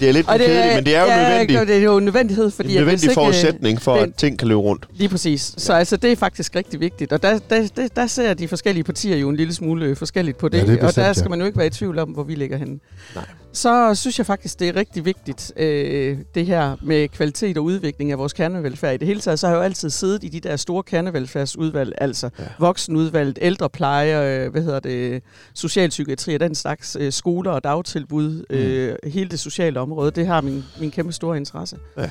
A: Det er lidt
C: Og
A: det, kedeligt, men det er jo
C: ja,
A: nødvendigt.
C: Det er jo en nødvendighed, fordi...
A: en
C: at hvis
A: nødvendig
C: ikke, øh,
A: forudsætning for,
C: den-
A: at ting kan løbe rundt.
C: Lige præcis. Så altså, det er faktisk rigtig vigtigt. Og der, der, der, der ser de forskellige partier jo en lille smule øh, forskelligt på det.
B: Ja, det er
C: og
B: bestemt, ja.
C: der skal man jo ikke være i tvivl om, hvor vi ligger henne.
A: Nej.
C: Så synes jeg faktisk, det er rigtig vigtigt, øh, det her med kvalitet og udvikling af vores kernevelfærd. I det hele taget, så har jeg jo altid siddet i de der store kernevelfærdsudvalg, altså
A: Ja.
C: ja. voksenudvalget, ældrepleje, øh, hvad hedder det, socialpsykiatri og den slags, øh, skoler og dagtilbud,
B: Mm.
C: øh, hele det sociale område. Det har min, min kæmpe store interesse. Ja.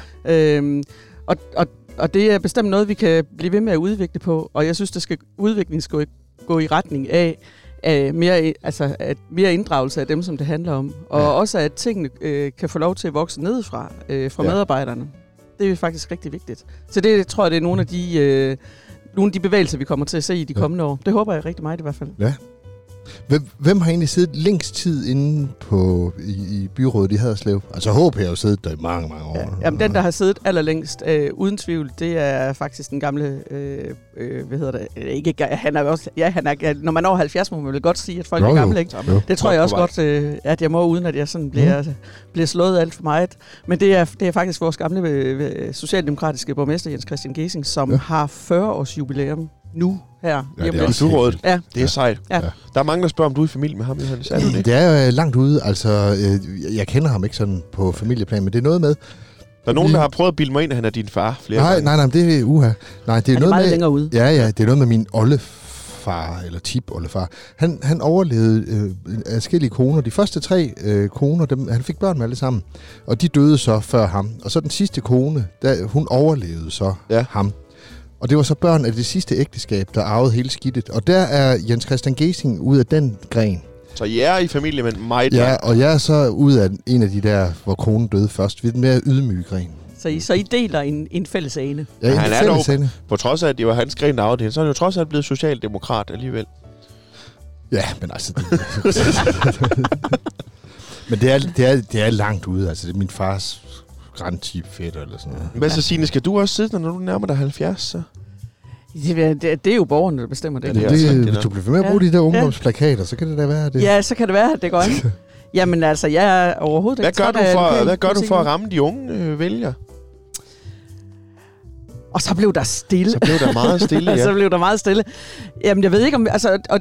C: Øhm, og, og, og det er bestemt noget, vi kan blive ved med at udvikle på, og jeg synes, det skal, udviklingen skal gå i, gå i retning af, af mere, altså, at mere inddragelse af dem, som det handler om. Og
B: Ja.
C: ja. også, at tingene øh, kan få lov til at vokse nedefra, øh, fra
B: Ja.
C: ja. medarbejderne. Det er faktisk rigtig vigtigt. Så det tror jeg, det er nogle af de, øh, nogle af de bevægelser, vi kommer til at se i de
B: Ja.
C: kommende år. Det håber jeg rigtig meget i hvert fald.
B: Hvem, hvem har egentlig siddet længst tid inde på, i, i byrådet i Haderslev? Altså HP har jo siddet der i mange, mange år.
C: Ja. Jamen, den, der har siddet allerlængst, øh, uden tvivl, det er faktisk den gamle, øh, øh, hvad hedder det, Øh, ikke, ga- han er også, ja, han er, ja, når man er over 70, må man vel godt sige, at folk
B: Jo,
C: jo, er
B: jo.
C: gamle, ikke?
B: Jo.
C: Det tror
A: Godt
C: jeg
A: på
C: også
A: vej.
C: godt, øh, at jeg må, uden at jeg sådan bliver, mm. bliver slået alt for meget. Men det er, det er faktisk vores gamle øh, øh, socialdemokratiske borgmester, Jens Christian Gesing, som
B: Ja.
C: ja. har 40 års jubilæum nu her.
D: Ja,
C: lige om
D: det er
C: lidt.
D: også
A: Kulturrådet.
C: ja.
A: Det er sejt.
C: Ja.
A: Der er mange, der spørger, om du er i familie med ham, Johannes. Er du det?
B: Det er jo øh, langt ude, altså øh, jeg- jeg kender ham ikke sådan på familieplan, men det er noget med...
A: Der er nogen, der har prøvet at bilde mig ind, at han er din far flere
B: Nej,
A: gange.
B: nej, nej, men det er uha. Nej, det er
C: Han er
B: noget
C: meget
B: med...
C: længere ude.
B: Ja, ja, det er noget med min oldefar, eller tip oldefar. Han, han overlevede øh, forskellige koner. De første tre øh, koner, dem, han fik børn med alle sammen. Og de døde så før ham. Og så den sidste kone, der, hun overlevede så
A: Ja.
B: ja. ham. Og det var så børn af det sidste ægteskab, der arvede hele skidtet. Og der er Jens Christian Gesing ud af den gren.
A: Så jeg er i familie med mig.
B: Ja, og jeg er så ud af en af de der, hvor konen døde først. Ved den mere ydmyge gren.
C: Så, I, så I deler en, en fælles ane.
B: Ja,
A: Han
B: en
A: er
B: fælles
A: dog-
B: ende.
A: På trods af, at det var hans gren, der arvede hende, så er han jo trods alt blevet socialdemokrat alligevel.
B: Ja, men altså... Det, *laughs* men det er, det, er, det er langt ude. Altså, det er min fars grandtip fætter eller sådan noget.
A: Hvad så, Signe? Skal du også sidde, der, når du nærmer dig 70? Så?
C: Det, er- det, er- det er jo borgerne, der bestemmer det.
A: Ja,
B: Ja,
A: det er
B: det,
A: altså
B: det,
A: rigtigt
B: hvis
A: nok.
B: du bliver ved med at
C: Ja,
B: bruge ja, de der
C: ja.
B: ungdomsplakater, så kan det da være det.
C: Ja, så kan det være, at det går
A: *laughs*
C: an. Jamen altså, jeg er overhovedet
A: Hvad
C: ikke
A: gør,
C: træt
A: du
C: af
A: for, hvad gør du
C: lokalpolitik
A: for at
C: nu.
A: ramme de unge øh, vælgere?
C: Og så blev der stille.
A: Så blev der meget
C: *laughs*
A: stille,
C: så
A: ja.
C: blev der meget stille. Jamen, jeg ved ikke om... Altså, og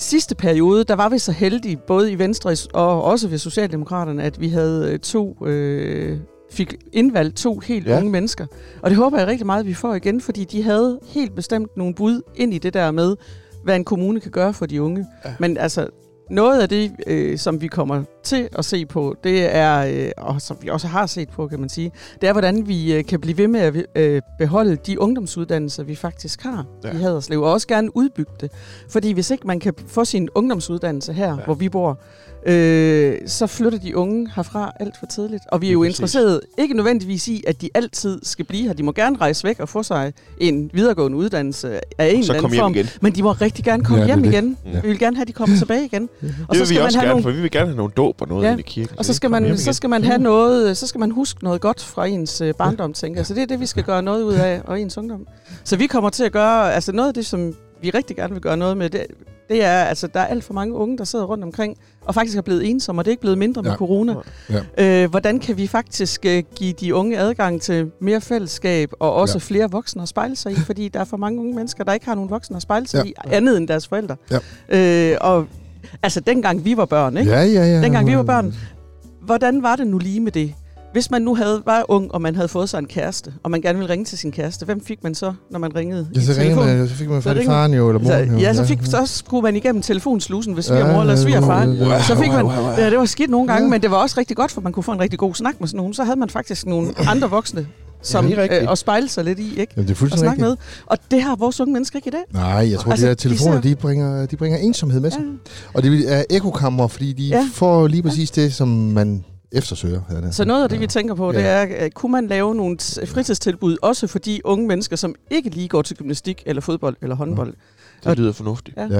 C: sidste periode, der var vi så heldige, både i Venstre og også ved Socialdemokraterne, at vi havde øh, to... Øh, fik indvalgt to helt
A: Ja.
C: ja. unge mennesker. Og det håber jeg rigtig meget, at vi får igen, fordi de havde helt bestemt nogle bud ind i det der med, hvad en kommune kan gøre for de unge.
A: Ja.
C: Ja. Men altså, noget af det, øh, som vi kommer til at se på, det er, øh, og som vi også har set på, kan man sige, det er, hvordan vi øh, kan blive ved med at øh, beholde de ungdomsuddannelser, vi faktisk har
A: Ja.
C: ja. i Haderslev, og også gerne udbygge det. Fordi hvis ikke man kan få sin ungdomsuddannelse her,
A: Ja.
C: ja. hvor vi bor, øh, så flytter de unge herfra alt for tidligt. Og vi er
A: Lige
C: jo
A: præcis.
C: interesserede ikke nødvendigvis i, at de altid skal blive her. De må gerne rejse væk og få sig en videregående uddannelse af en
A: Så
C: eller
A: kom
C: anden
A: hjem
C: form.
A: igen.
C: Men de må rigtig gerne komme
B: Ja,
C: ja,
B: det er
C: hjem
B: det.
C: igen.
A: Ja.
C: Ja. Vi vil gerne have, at de kommer tilbage igen.
A: Og det vil vi også gerne, for vi vil gerne have nogle dåb og noget
C: Ja.
A: ind i kirken.
C: og så skal
A: Kom hjem
C: man, så
A: igen.
C: skal man have noget, øh, så skal man huske noget godt fra ens øh, barndom, tænker jeg. Så det er det, vi skal gøre noget ud af, og ens ungdom. Så vi kommer til at gøre, altså noget af det, som vi rigtig gerne vil gøre noget med, det, det er, altså der er alt for mange unge, der sidder rundt omkring, og faktisk er blevet ensomme, og det er ikke blevet mindre med
B: Ja.
C: corona. Ja. Øh, hvordan kan vi faktisk øh, give de unge adgang til mere fællesskab, og også
B: Ja.
C: flere voksne at spejle sig i? Fordi der er for mange unge mennesker, der ikke har nogen voksne at spejle sig
B: Ja.
C: ja. i, andet end deres forældre. Øh, og altså dengang vi var børn, ikke?
B: Ja, ja, ja.
C: Dengang vi var børn. Hvordan var det nu lige med det? Hvis man nu havde, var ung, og man havde fået sig en kæreste, og man gerne ville ringe til sin kæreste, hvem fik man så, når man ringede
B: Ja,
C: i
B: så, ringer
C: telefon?
B: man, så fik man
C: Så
B: fat i
C: ringer-
B: faren jo, eller moren
C: så,
B: jo.
C: ja, så, fik, så skulle man igennem telefonslusen ved svigermor ja, eller svigerfar.
B: ja, ja.
C: Så fik man, ja, det var skidt nogle gange,
B: Ja.
C: ja. men det var også rigtig godt, for man kunne få en rigtig god snak med sådan nogen. Så havde man faktisk nogle andre voksne, som
A: det er rigtigt.
C: øh, at spejle sig lidt i, ikke?
B: Jamen, det er
C: Og
B: fuldstændig
C: snakke
B: rigtigt.
C: med. Og det har vores unge mennesker ikke i dag.
B: Nej, jeg tror, altså,
C: Altså,
B: de der
C: de
B: telefoner,
C: ser-
B: de bringer, de bringer ensomhed med sig.
C: Ja.
B: Og det er ekokammer, fordi de ja.
C: Ja.
B: får lige præcis det, som man eftersøger. havde jeg nær
C: Så
B: sagt.
C: noget af det, vi tænker på, det
B: Ja.
C: er, øh, kunne man lave nogle t- fritidstilbud, også for de unge mennesker, som ikke lige går til gymnastik, eller fodbold, eller håndbold?
A: Det lyder fornuftigt.
C: Ja.
B: Ja. Så
A: Vi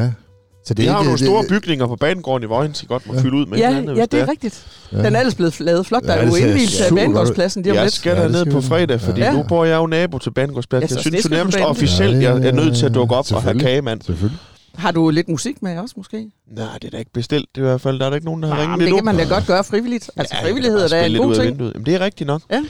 B: er
A: har jo
B: ikke-
A: nogle
B: det-
A: store bygninger på banegården i Vojens, som godt må
B: Ja.
A: fylde ud med et
C: Ja,
A: eller andet,
C: ja,
A: hvis
C: det er rigtigt.
B: Ja.
C: Den er ellers blevet lavet flot. Der
B: Ja,
C: er
B: det
A: altså,
C: jo
B: ser
C: indvielse af
B: super godt ud.
C: banegårdsladsen lige om
A: Jeg
C: lidt.
A: skal
B: Ja, det
A: derned
B: skal
A: på
B: vi.
A: fredag, fordi
C: Ja. Altså,
A: nu bor jeg jo nabo til Banegårdspladsen.
C: Ja,
A: Jeg
C: så
A: synes
C: det
A: jo
C: skal du
A: nærmest
C: på banen.
A: officielt,
B: Ja,
A: jeg er
B: ja,
A: nødt til at
B: ja,
A: dukke op og have
B: selvfølgelig.
A: kagemand.
B: Selvfølgelig.
C: Har du lidt musik med også, måske?
A: Nej, det er da ikke bestilt. Det er i hvert fald, der er der ikke nogen, der har
C: Nej,
A: ringet
C: men det
A: endnu.
C: kan man da godt gøre frivilligt. Altså,
A: Ja,
C: frivillighed er
A: jeg kan bare
C: da en
A: spille
C: god
A: lidt ud af
C: ting.
A: vinduet. Jamen, det er rigtigt nok.
C: Det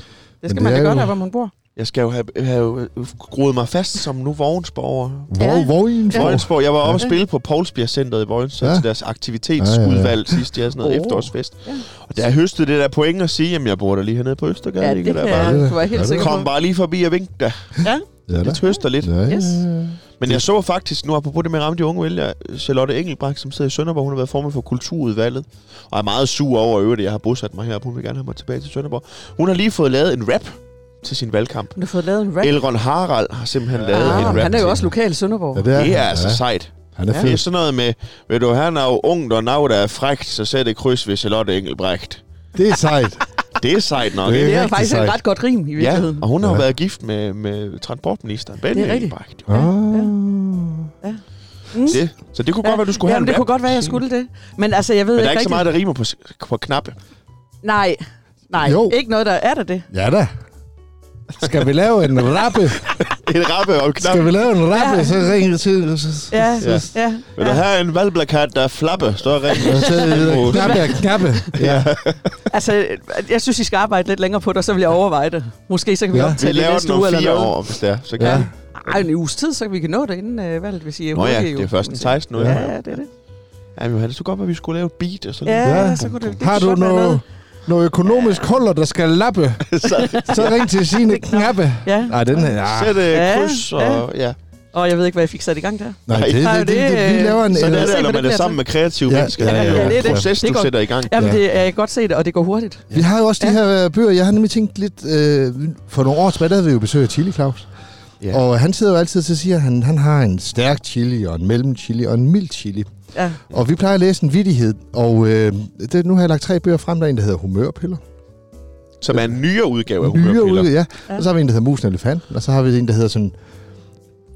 C: skal
B: Men det
C: man da
B: er
C: gøre
B: jo-
C: der, hvor man bor.
A: Jeg skal jo have, have øh, groet mig fast som nu Vogensborger.
B: Hvor,
C: Ja.
B: hvor i en
A: Ja.
B: form?
A: Vojensborg. Jeg var oppe og
C: Ja.
A: spille på Poulsbjerg Centeret i Vojens, så
B: Ja.
A: til deres aktivitetsudvalg ja, ja, ja. sidst. De havde sådan noget
C: Åh.
A: efterårsfest.
C: Ja.
A: Og der høstede det der point at sige, jamen jeg bor der lige hernede på Østergade.
C: Ja,
A: ikke?
C: det
A: Der
C: kan
A: bare,
B: det er-
C: jeg. Du var
B: ja,
C: helt
B: det
C: sikker
A: Kom
C: på.
A: bare lige forbi og vink da.
B: Ja, da.
A: Det tøster lidt.
B: Ja,
C: Yes.
B: ja.
A: Men jeg så faktisk, nu apropos det med at ramme de unge vælgere, Charlotte Engelbrecht, som sidder i Sønderborg, hun har været formand for Kulturudvalget, og er meget sur over i øvrigt, at jeg har bosat mig heroppe. Hun vil gerne have mig tilbage til Sønderborg. Hun har lige fået lavet en rap til sin valgkamp.
C: Du har fået lavet en rap.
A: Elron Harald har simpelthen lavet en
C: Ah,
A: rap.
C: han er
A: til
C: jo
A: hende.
C: også lokal i Sønderborg.
B: Ja, det er,
A: Det er
B: han.
A: altså
B: ja.
A: sejt.
B: Han er
A: Det
B: fed.
A: er sådan noget med, ved du, han er jo ung, og nav, der er frækt, så sæt et kryds ved Charlotte Engelbrecht.
B: Det er sejt.
A: Det er sejt nok,
B: Det
A: ikke?
C: Det er
B: rigtig
C: faktisk et
B: sejt.
C: ret godt rim, i
A: Ja,
C: virkeligheden.
A: og hun har jo
B: Ja.
A: været gift med, med transportministeren, Benny
C: Det er rigtigt.
A: Engelbrecht. jo.
B: Ah.
C: ja. Mm.
A: Det, så det kunne godt være, du skulle
C: ja,
A: have en
C: men det
A: rap.
C: kunne godt være, jeg skulle det. Men altså, jeg ved
A: Men
C: ikke
A: der er ikke så
C: rigtigt.
A: meget, der rimer på, s- på knappe.
C: Nej, nej.
B: Jo.
C: Jo. Ikke noget, der er der det.
B: Ja da. Skal vi lave en rappe?
A: En rappe og knap.
B: Skal vi lave en rappe?
C: Ja.
B: Så ringer til... så-
C: Ja,
A: Ja.
C: ja. ja.
A: Vil du have en valgplakat, der er flappe? Så ring.
B: Så er det der knappe og knappe. Ja.
C: Altså, jeg synes, I skal arbejde lidt længere på det, og så vil jeg overveje det. Måske så kan vi
B: Ja.
C: ja. optage
A: Vi
C: det
A: laver
C: næste
A: den om
C: uge eller
A: fire
C: noget.
A: år, hvis det er. Så kan
B: Ja.
A: ja.
C: Ej, en uges tid, så vi kan nå det inden øh, valget, hvis I er
A: Nå ja,
C: hurtige, jo,
A: det er først den
C: kan man sige.
A: 16 nu.
C: Ja,
A: Ja.
C: ja, det er det.
A: Jamen, Johannes, du godt, at vi skulle lave et beat og sådan
C: Ja,
B: Ja.
C: så kunne det, det
B: Har
C: kunne
B: du
C: godt være
B: noget, noget økonomisk huller, der skal lappe,
A: noget. så
B: så ring til sine knappe.
C: Ja,
B: Nej, den her... Ah. Ja.
A: sæt øh,
C: Ja,
A: kryds og... Ja.
C: og jeg ved ikke, hvad jeg fik sat i gang der.
B: Nej, det,
C: Nej,
B: det, det, det, vi
C: det-
B: laver en... øh,
A: Sådan er
C: se,
A: det,
C: hvad
A: når man
C: det
A: er
C: bliver
A: sammen med kreative
B: Ja,
A: mennesker.
B: ja, ja,
A: det er
B: ja,
A: jo
B: det er
A: en
B: det.
A: proces,
C: Det
A: du
C: går-
A: sætter i gang.
C: Jamen,
B: Ja.
C: ja. det, jeg kan godt se det, og det går hurtigt.
B: Vi har jo også de her øh, bøger. Jeg har nemlig tænkt lidt... Øh, for nogle år tilbage, der havde vi jo besøg af Chili Claus.
A: Ja.
B: Ja. Og han sidder jo altid til at sige, at han, han har en stærk chili, og en mellem chili, og en mild chili.
C: Ja.
B: Og vi plejer at læse en vidighed, og øh, det, nu har jeg lagt tre bøger frem. Der er en, der hedder Humørpiller.
A: Som er en nyere udgave af
B: Nyere
A: humørpiller.
B: udgave, ja.
C: Ja.
B: Og så har vi en, der hedder Musen og Elefanten, og så har vi en, der hedder sådan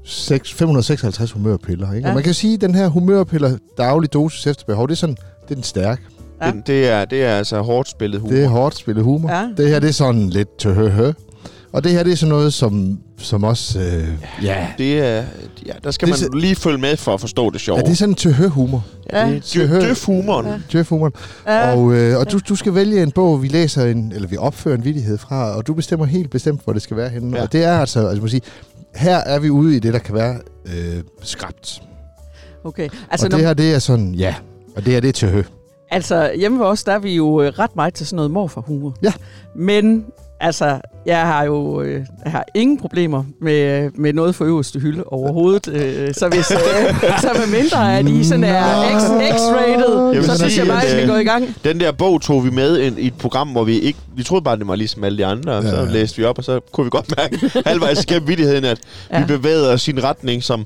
B: 6, 556 humørpiller. Ikke? Ja.
C: Ja.
B: Og man kan jo sige, at den her humørpiller, daglig dosis efter behov, det er sådan, det er den stærke.
C: Ja.
A: Det, det, er, det er altså hårdt spillet humor.
B: Det er hårdt spillet humor. Ja.
C: Ja.
B: Det her, det er sådan lidt tøhøhø. Og det her, det er sådan noget, som, som også... Øh, ja.
A: Det er, ja, der skal
B: Det
A: man
B: er så-
A: lige følge med for at forstå det sjove.
B: ja, det er sådan tøhø-humor.
A: ja, det er
B: Ja.
A: dø- døf humoren.
C: Ja.
B: Tøhø-humoren.
C: Ja.
B: Og, øh, og du, du skal vælge en bog, vi læser en, eller vi opfører en vidighed fra, og du bestemmer helt bestemt, hvor det skal være henne. Ja.
A: Ja.
B: Og det er altså, altså man sige, her er vi ude i det, der kan være øh, skrabt.
C: Okay.
B: Altså,
C: Altså,
B: og det
C: når,
B: her, det er sådan, ja. Og det her, det er til hø.
C: altså, hjemme ved os, der er vi jo øh, ret meget til sådan noget morfar humor.
B: Ja.
C: Men, altså, jeg har jo øh, jeg har ingen problemer med, med noget for øverste hylde overhovedet. Øh, så
B: *laughs*
C: hvis, øh, så med mindre, at I sådan er
B: Nå.
C: X,
B: Jeg
C: X-rated,
B: vil
C: så synes
B: sige,
C: jeg bare,
A: at,
C: at I skal
A: øh,
C: gå i gang.
A: Den der bog tog vi med ind i et program, hvor vi ikke... Vi troede bare, det var ligesom alle de andre, og
B: Ja,
A: så
B: ja.
A: læste vi op, og så kunne vi godt mærke halvvejs gennem vittigheden, at ja. vi
C: Ja.
A: bevægede os i en retning, som...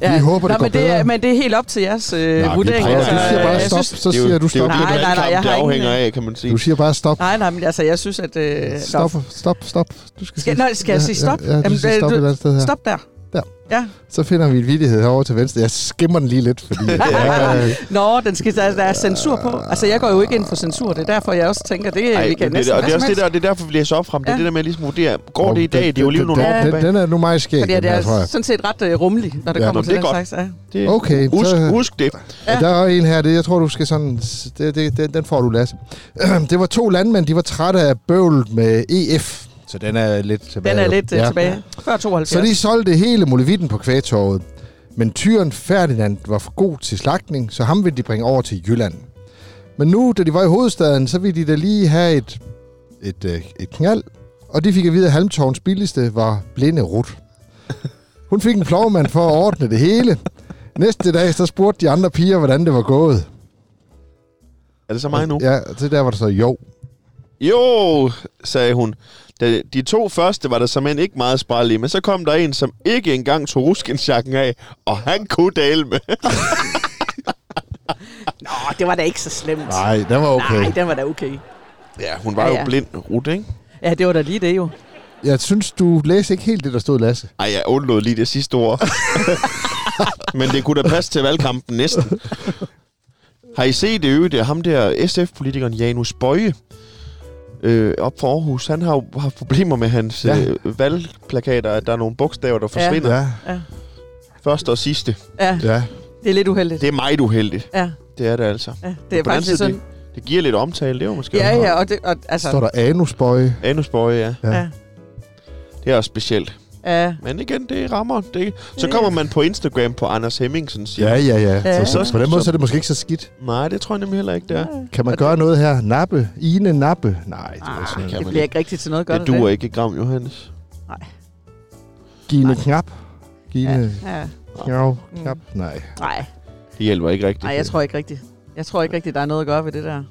B: Vi håber, det
C: Nå,
B: går
C: men det,
B: bedre.
C: er, men det er helt op til jeres øh,
B: Nej, vi
C: vurdering.
B: prøver.
A: altså,
B: du siger bare
C: jeg
B: stop,
C: synes-
B: så
A: det er jo,
B: siger du
A: det, er jo det,
B: stop.
C: Nej, nej, nej,
A: valgkamp,
C: jeg har
A: det
C: ingen,
A: afhænger
C: øh,
A: af, kan man sige.
B: Du siger bare stop.
C: Nej, nej, men altså, jeg synes, at... Øh,
B: Stop, stop, stop. Du skal,
C: Skal, nej, skal jeg sige stop?
B: Ja, ja, du
C: Jamen,
B: siger
C: øh,
B: stop
C: du-
B: et eller andet sted her.
C: Stop der.
B: Der.
C: Ja.
B: Så finder vi en vidighed herovre til venstre. Jeg skimmer den lige lidt, fordi... ja, øh,
C: Nå, den skal, der, der er censur på. Altså, jeg går jo ikke ind for censur. Det er derfor, jeg også tænker, det, Ej, vi kan
A: men det,
C: næsten
A: og det
C: hvad
A: er
C: som
A: også det,
C: helst.
A: der, det er derfor, vi læser op frem. Det er
C: Ja.
A: det der med at ligesom vurdere, *laughs* går det i dag?
B: den-
A: Det er jo lige
B: den-
A: nogle år
B: den-
A: tilbage.
B: Den er nu meget skæg,
C: Fordi
B: den
C: det
B: her, tror
C: er
B: jeg.
C: sådan set ret øh, rummelig, når det
B: Ja,
C: kommer
A: nå,
C: til
A: det er
C: den
A: godt.
C: slags. Ja.
A: Det-
B: Okay,
A: Husk,
B: så,
A: husk det.
B: Ja. Der er en her, det, jeg tror, du skal sådan... Det, det, den, den får du, Lasse. *clears throat* Det var to landmænd, de var trætte af bøvl med E EF. Så den er lidt tilbage.
C: Den er
B: jo.
C: lidt ja. tilbage. Før 72.
B: Så de solgte hele molevitten på kvægtorvet. Men tyren Ferdinand var for god til slagtning, så ham ville de bringe over til Jylland. Men nu, da de var i hovedstaden, så ville de da lige have et, et, øh, et knald. Og de fik at vide, at Halmtorns billigste var blinde rut. Hun fik en plovmand for at ordne det hele. Næste dag, så spurgte de andre piger, hvordan det var gået.
A: Er det så mig nu?
B: Ja, det der var der så jo.
A: Jo, sagde hun. Da de to første var der såmænd ikke meget spejl i, men så kom der en, som ikke engang tog ruskinsjakken af, og han kunne dale med.
C: Nå, det var da ikke så slemt.
B: Nej, den var okay.
C: Nej, den var da okay.
A: Ja, hun var ja,
C: Ja,
A: ja. jo
C: ja.
A: blind, Rut, ikke?
C: Ja, det var da lige det jo.
B: Jeg synes, du læste ikke helt det, der stod, Lasse.
A: Ej, jeg undlod lige det sidste
B: *laughs*
A: ord. men det kunne da passe til valgkampen næsten. Har I set det øvrigt? Ham der SF-politikeren Janus Bøje øh, op for Aarhus, han har jo haft problemer med hans
B: Ja.
A: ja. øh, valgplakater, at der er nogle bogstaver, der forsvinder. Ja.
B: Ja,
A: Første og sidste.
C: Ja,
B: ja.
C: det er lidt uheldigt.
A: Det er meget uheldigt.
C: Ja,
A: Det er det altså.
C: ja det er
A: På den anden
C: faktisk
A: side,
C: sådan.
A: det, det giver lidt omtale, det er jo måske
C: Ja,
A: også
C: ja, og, det, og altså...
B: Står der anusbøje?
A: Anusbøje, ja.
B: Ja.
C: Ja.
A: Det er også specielt.
C: Ja.
A: Men igen, det rammer. Det. Så kommer man på Instagram på Anders Hemmingsen siger.
B: Ja, ja, ja.
C: Ja.
B: Så, så, på den måde så er det måske ikke så skidt.
A: Nej, det tror jeg nemlig heller ikke, det er.
B: Kan man gøre noget her? Nappe? Ine nappe? Nej, det er
C: Ah,
B: sådan.
A: kan
C: det
A: man
C: bliver
A: ikke.
C: ikke rigtigt til noget godt.
A: Det duer ikke, et Gram Johannes.
B: Gine knap? Gine
C: Ja. Mm.
B: knap? knap? Nej.
C: Nej,
A: Det hjælper ikke rigtigt.
C: nej, jeg tror ikke rigtigt. Jeg tror ikke rigtigt, der er noget at gøre ved det der.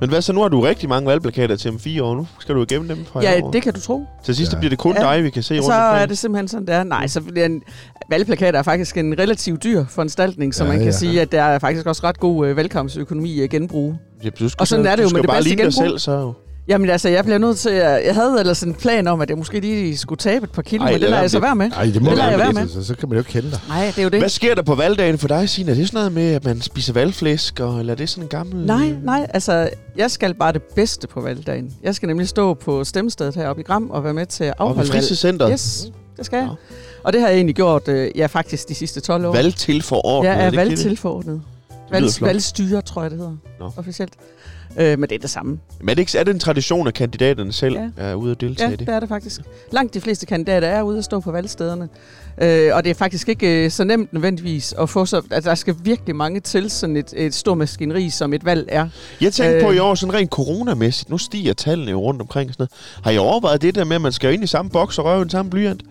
A: Men hvad så, nu har du rigtig mange valgplakater til om fire år. Nu skal du jo gemme dem fra i
C: Ja,
A: år.
C: det kan du tro.
A: Til sidst
B: Ja.
A: ja. bliver det kun
C: Ja.
A: dig, vi kan se rundt
C: Så er
A: omkring. Mm.
C: det simpelthen sådan, det er. Nej, så bliver en valgplakat er faktisk en relativt dyr foranstaltning, så
B: Ja,
C: man kan
B: ja.
C: sige, at der er faktisk også ret god øh, velkomstøkonomi at genbruge.
A: Ja, du skal,
C: Og sådan
A: så-
C: er det jo
A: du skal
C: med det
A: bare
C: bedste
A: ligne dig
C: genbrug.
A: selv, så jo.
C: Jamen altså, jeg bliver nødt til at... Jeg havde ellers en plan om, at jeg måske lige skulle tabe et par kilo,
A: Ej,
C: Ej, men
A: lad
C: det lader
A: være
C: jeg så
A: med det.
C: være med.
B: Nej, det må
C: Det lader jeg
B: være
C: være
B: med.
C: med.
B: Så, så kan man jo ikke kende dig.
C: Nej, det er jo det.
A: Hvad sker der på valgdagen for dig, Signe? Er det sådan noget med, at man spiser valgflæsk, og, eller er det sådan en gammel...
C: Nej, nej, altså, jeg skal bare det bedste på valgdagen. Jeg skal nemlig stå på stemmestedet heroppe i Gram og være med til at
A: Og ved
C: afholde valg.
A: Frisecenteret.
C: Yes, det skal jeg.
A: Nå.
C: Og det har jeg egentlig gjort, øh, ja, faktisk de sidste 12 år.
A: Valgtilforordnet.
C: Jeg
A: er
C: er
A: det ikke det?
C: valgtilforordnet.
A: lyder
C: Valg,
A: flot.
C: valgstyre, tror jeg, det hedder
A: Nå.
C: no. officielt. Øh, men det er det samme.
A: Men er det, ikke, er det en tradition, at kandidaterne selv ja.
C: Ja.
A: er ude at deltage
C: Ja,
A: ja, i det?
C: det er det faktisk. Langt de fleste kandidater er ude at stå på valgstederne. Øh, og det er faktisk ikke øh, så nemt nødvendigvis at få så... Altså, der skal virkelig mange til sådan et, et stort maskineri, som et valg er.
A: Jeg tænkte øh, på
C: Øh.
A: i år, sådan rent coronamæssigt, nu stiger tallene jo rundt omkring. og Sådan noget. Har I overvejet det der med, at man skal jo ind i samme boks og røve i den samme blyant?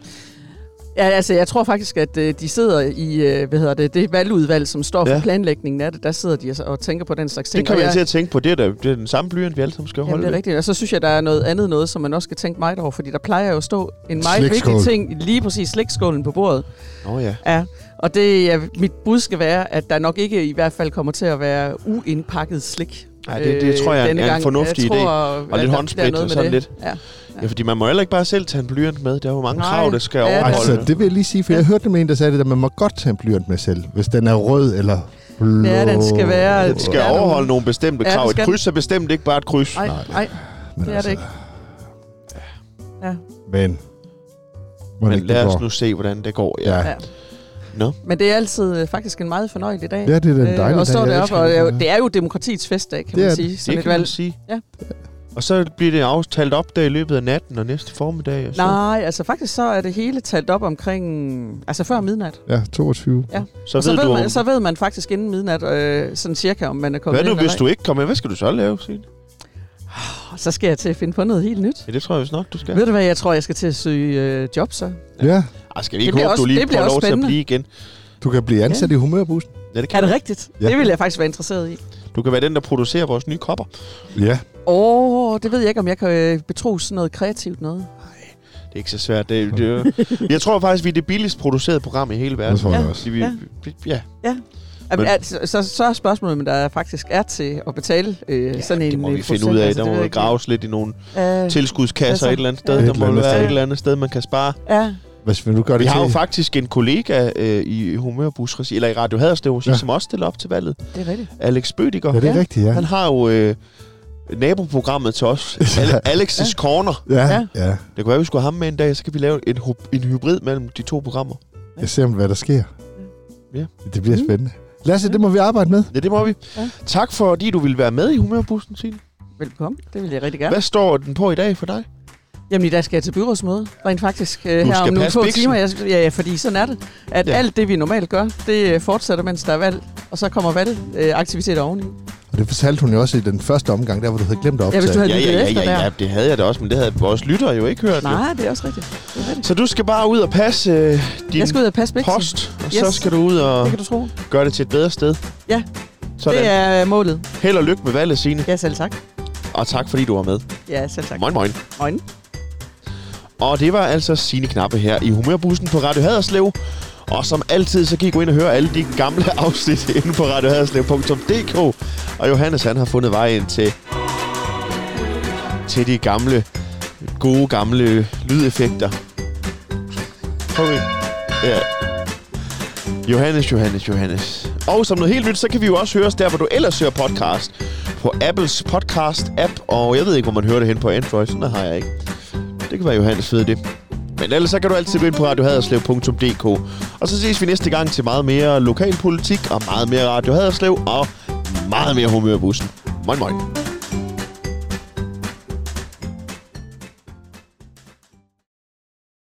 C: Ja, altså, jeg tror faktisk, at øh, de sidder i, øh, hvad hedder det, det valgudvalg, som står for
A: Ja.
C: planlægningen af det, der sidder de og, og tænker på den slags ting.
A: Det kommer
C: Og
A: jeg til at tænke på. Det er, da, det er den samme blyant, vi alle sammen skal
C: Jamen,
A: holde
C: det er
A: ved.
C: rigtigt. Og så synes jeg, der er noget andet noget, som man også skal tænke meget over, fordi der plejer jo at stå en meget
B: Slikskål.
C: vigtig ting, lige præcis slikskålen på bordet.
A: Nå ja.
C: Ja. Og det er, mit bud skal være, at der nok ikke i hvert fald kommer til at være uindpakket slik. øh,
A: Ej, det- det tror jeg er en-
C: denne
A: er en
C: gang.
A: fornuftig
C: jeg tror,
A: idé.
C: Og
A: lidt håndsprit og sådan lidt.
C: Ja.
A: ja. fordi man må heller ikke bare selv tage en blyant med. Der er jo mange Nej.
C: Nej.
A: krav, der skal
C: Ja, det er
A: overholde.
B: Altså, det vil jeg lige sige, for jeg hørte med en, der sagde det, at man må godt tage en blyant med selv, hvis den er rød eller blå.
C: Ja, den skal være-
A: Den skal
C: Ja, nogle-
A: overholde nogle bestemte
C: Ja, det
A: krav. Et
C: skal den.
A: kryds er bestemt ikke bare et kryds.
C: Ej,
B: Nej.
C: ej,
B: Men
A: altså-
C: det er det ikke. Ja.
B: altså, Men, Må
A: Men
B: ikke det
A: lad os
B: går.
A: nu se, hvordan det går.
B: Ja.
C: Ja.
A: Nå.
C: Men det er altid øh, faktisk en meget fornøjelig dag. Øh,
B: ja, det er den dejlige
C: og
B: dag,
C: står
B: jeg
C: deroppe,
B: elsker
C: og det er, jo,
B: her.
C: det er jo demokratiets festdag, kan
B: Det er
C: man
B: det.
C: sige. Sådan
A: Det
C: et
A: kan man
C: valg.
A: sige.
C: Ja.
A: Og så bliver det aftalt op der i løbet af natten og næste formiddag. Og så,
C: Nej, altså faktisk så er det hele talt op omkring, altså før midnat.
B: Ja, 22.
A: så,
C: og så,
A: ved
C: ved
A: du,
C: man,
A: om,
C: så ved man faktisk inden midnat, øh, sådan cirka, om man er kommet
A: hvad nu,
C: ind
A: hvis
C: eller
A: du ikke kommer med? Hvad skal du så lave, Signe?
C: ej. Så skal jeg til at finde på noget helt nyt.
A: Ja, det tror jeg vist nok, du skal.
C: Ja. Ved du hvad, jeg tror, jeg skal til at søge øh, job så.
B: Ja,
A: Ej, skal vi ikke
C: Det
A: håbe,
C: bliver
A: du
C: også-
A: lige
C: det bliver
A: får
C: også
A: lov til at
C: spændende.
A: blive igen?
B: du kan blive ansat i humørbussen.
A: Ja, det
C: Er
A: kan
C: det
A: du.
C: rigtigt?
B: Ja.
C: Ja. Det vil jeg faktisk være interesseret i.
A: Du kan være den, der producerer vores nye kopper.
B: Ja.
C: Åh, oh, det ved jeg ikke, om jeg kan øh, betro sådan noget kreativt noget.
A: Det er ikke så svært. Det, det, jeg tror faktisk, vi er det billigst producerede program i hele verden.
B: Det tror jeg
A: ja.
B: også.
A: Vi,
C: Ja.
A: vi, ja. Men-
C: Men, altså, så, så er spørgsmålet, om der faktisk er til at betale øh,
A: ja,
C: sådan en
A: det må
C: øh,
A: vi
C: procent,
A: finde ud af.
C: altså,
A: Der
C: det
A: må
C: ved jeg
A: jo
C: ikke.
A: graves lidt i nogle
C: Øh,
A: tilskudskasser
C: altså,
A: et eller andet sted.
C: Et
A: Der
B: eller
A: må
B: andet
A: være
B: sted.
A: et eller andet sted, man kan spare.
C: ja,
B: Hvis vi nu gør det
A: Vi har jo
B: til,
A: faktisk en kollega øh, i Humørbus, regi- eller i Radio Haderslev, regi,
B: Ja.
A: som også stiller op til valget.
C: det er rigtigt.
A: Alex Bødiger.
B: Ja, det er
C: Ja.
B: rigtigt, ja.
A: Han har jo øh, naboprogrammet til
B: *laughs*
A: os. Ale- Alex's ja. Corner.
B: Ja,
C: Ja.
B: ja.
A: Det kunne være, vi skulle have ham med en dag, så kan vi lave en, hu- en hybrid mellem de to programmer.
B: Jeg ser, hvad der sker.
A: Ja.
B: Det bliver
C: Mm.
B: spændende. Lasse, det må vi arbejde med.
A: Ja, det må vi. Ja.
C: Ja.
A: Tak fordi du ville være med i Humørbussen, Signe.
C: Velkommen. Det vil jeg rigtig gerne.
A: Hvad står den på i dag for dig?
C: Jamen i dag skal jeg til byrådsmøde, rent faktisk, øh, her
A: skal
C: om nogle
A: passe
C: få
A: biksen.
C: timer. Jeg, ja, ja, fordi sådan er det, at
A: Ja.
C: ja. alt det, vi normalt gør, det øh, fortsætter, mens der er valg, og så kommer valgaktiviteter øh, oveni.
B: Og det fortalte hun jo også i den første omgang, der hvor du havde glemt at
C: Ja, hvis du
B: optage.
C: havde lyttet efter
A: ja,
C: der.
A: det havde jeg da også, men det havde vores lyttere jo ikke hørt. Jo.
C: Nej, det er også rigtigt. Det er rigtigt.
A: Så du skal bare ud og passe øh, din
C: Jeg skal ud og passe biksen.
A: post, og yes. så
C: Yes.
A: skal du ud og
C: Det kan du tro.
A: gøre det til et bedre sted.
C: Ja.
A: Sådan.
C: Det er øh, målet.
A: Held og lykke med valget, Signe,
C: Ja, selv tak.
A: og tak fordi du var med.
C: Ja, selv tak.
A: Moin, moin.
C: Moin.
A: Og det var altså sine Knappe her i Humørbussen på Radio Haderslev. Og som altid, så kan I gå ind og høre alle de gamle *laughs* afsnit inde på radiohaderslev.dk. Og Johannes, han har fundet vejen til, til de gamle, gode gamle lydeffekter. Kom ind. Ja. Johannes, Johannes, Johannes. Og som noget helt nyt, så kan vi jo også høre os der, hvor du ellers hører podcast. På Apples podcast-app, og jeg ved ikke, hvor man hører det hen på Android. Sådan noget har jeg ikke. Det kan være Johannes ved det. Men ellers så kan du altid gå ind på radiohaderslev.dk. Og så ses vi næste gang til meget mere lokalpolitik og meget mere Radio Haderslev og meget mere humørbussen. Moin moin.